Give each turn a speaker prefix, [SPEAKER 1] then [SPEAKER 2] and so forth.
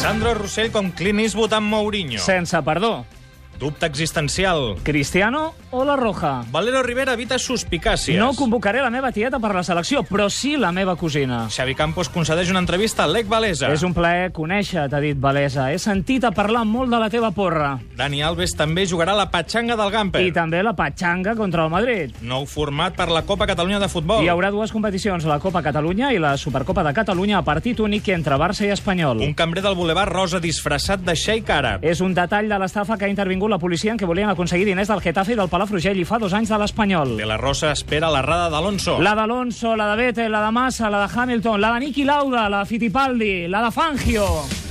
[SPEAKER 1] Sandro Rossell com Clint Eastwood amb Mourinho.
[SPEAKER 2] Sense perdó.
[SPEAKER 1] Dubte existencial.
[SPEAKER 2] Cristiano o la Roja?
[SPEAKER 1] Valero Rivera evita suspicàcies.
[SPEAKER 2] No convocaré la meva tieta per la selecció, però sí la meva cosina.
[SPEAKER 1] Xavi Campos concedeix una entrevista a l'Ec Valesa.
[SPEAKER 2] És un plaer conèixer, t'ha dit Valesa. He sentit a parlar molt de la teva porra.
[SPEAKER 1] Dani Alves també jugarà la patxanga del Gamper.
[SPEAKER 2] I també la patxanga contra el Madrid.
[SPEAKER 1] Nou format per la Copa Catalunya de Futbol.
[SPEAKER 2] Hi haurà dues competicions, la Copa Catalunya i la Supercopa de Catalunya, a partit únic entre Barça i Espanyol.
[SPEAKER 1] Un cambrer del Boulevard Rosa disfressat de xeic àrab.
[SPEAKER 2] És un detall de l'estafa que ha intervingut la policia en què volien aconseguir diners del Getafe i del Palafrugell i fa dos anys de l'Espanyol.
[SPEAKER 1] De la Rosa espera l'arrada d'Alonso.
[SPEAKER 2] La d'Alonso, la de Vettel, la de Massa, la de Hamilton, la de Niki Lauda, la de Fittipaldi, la de Fangio...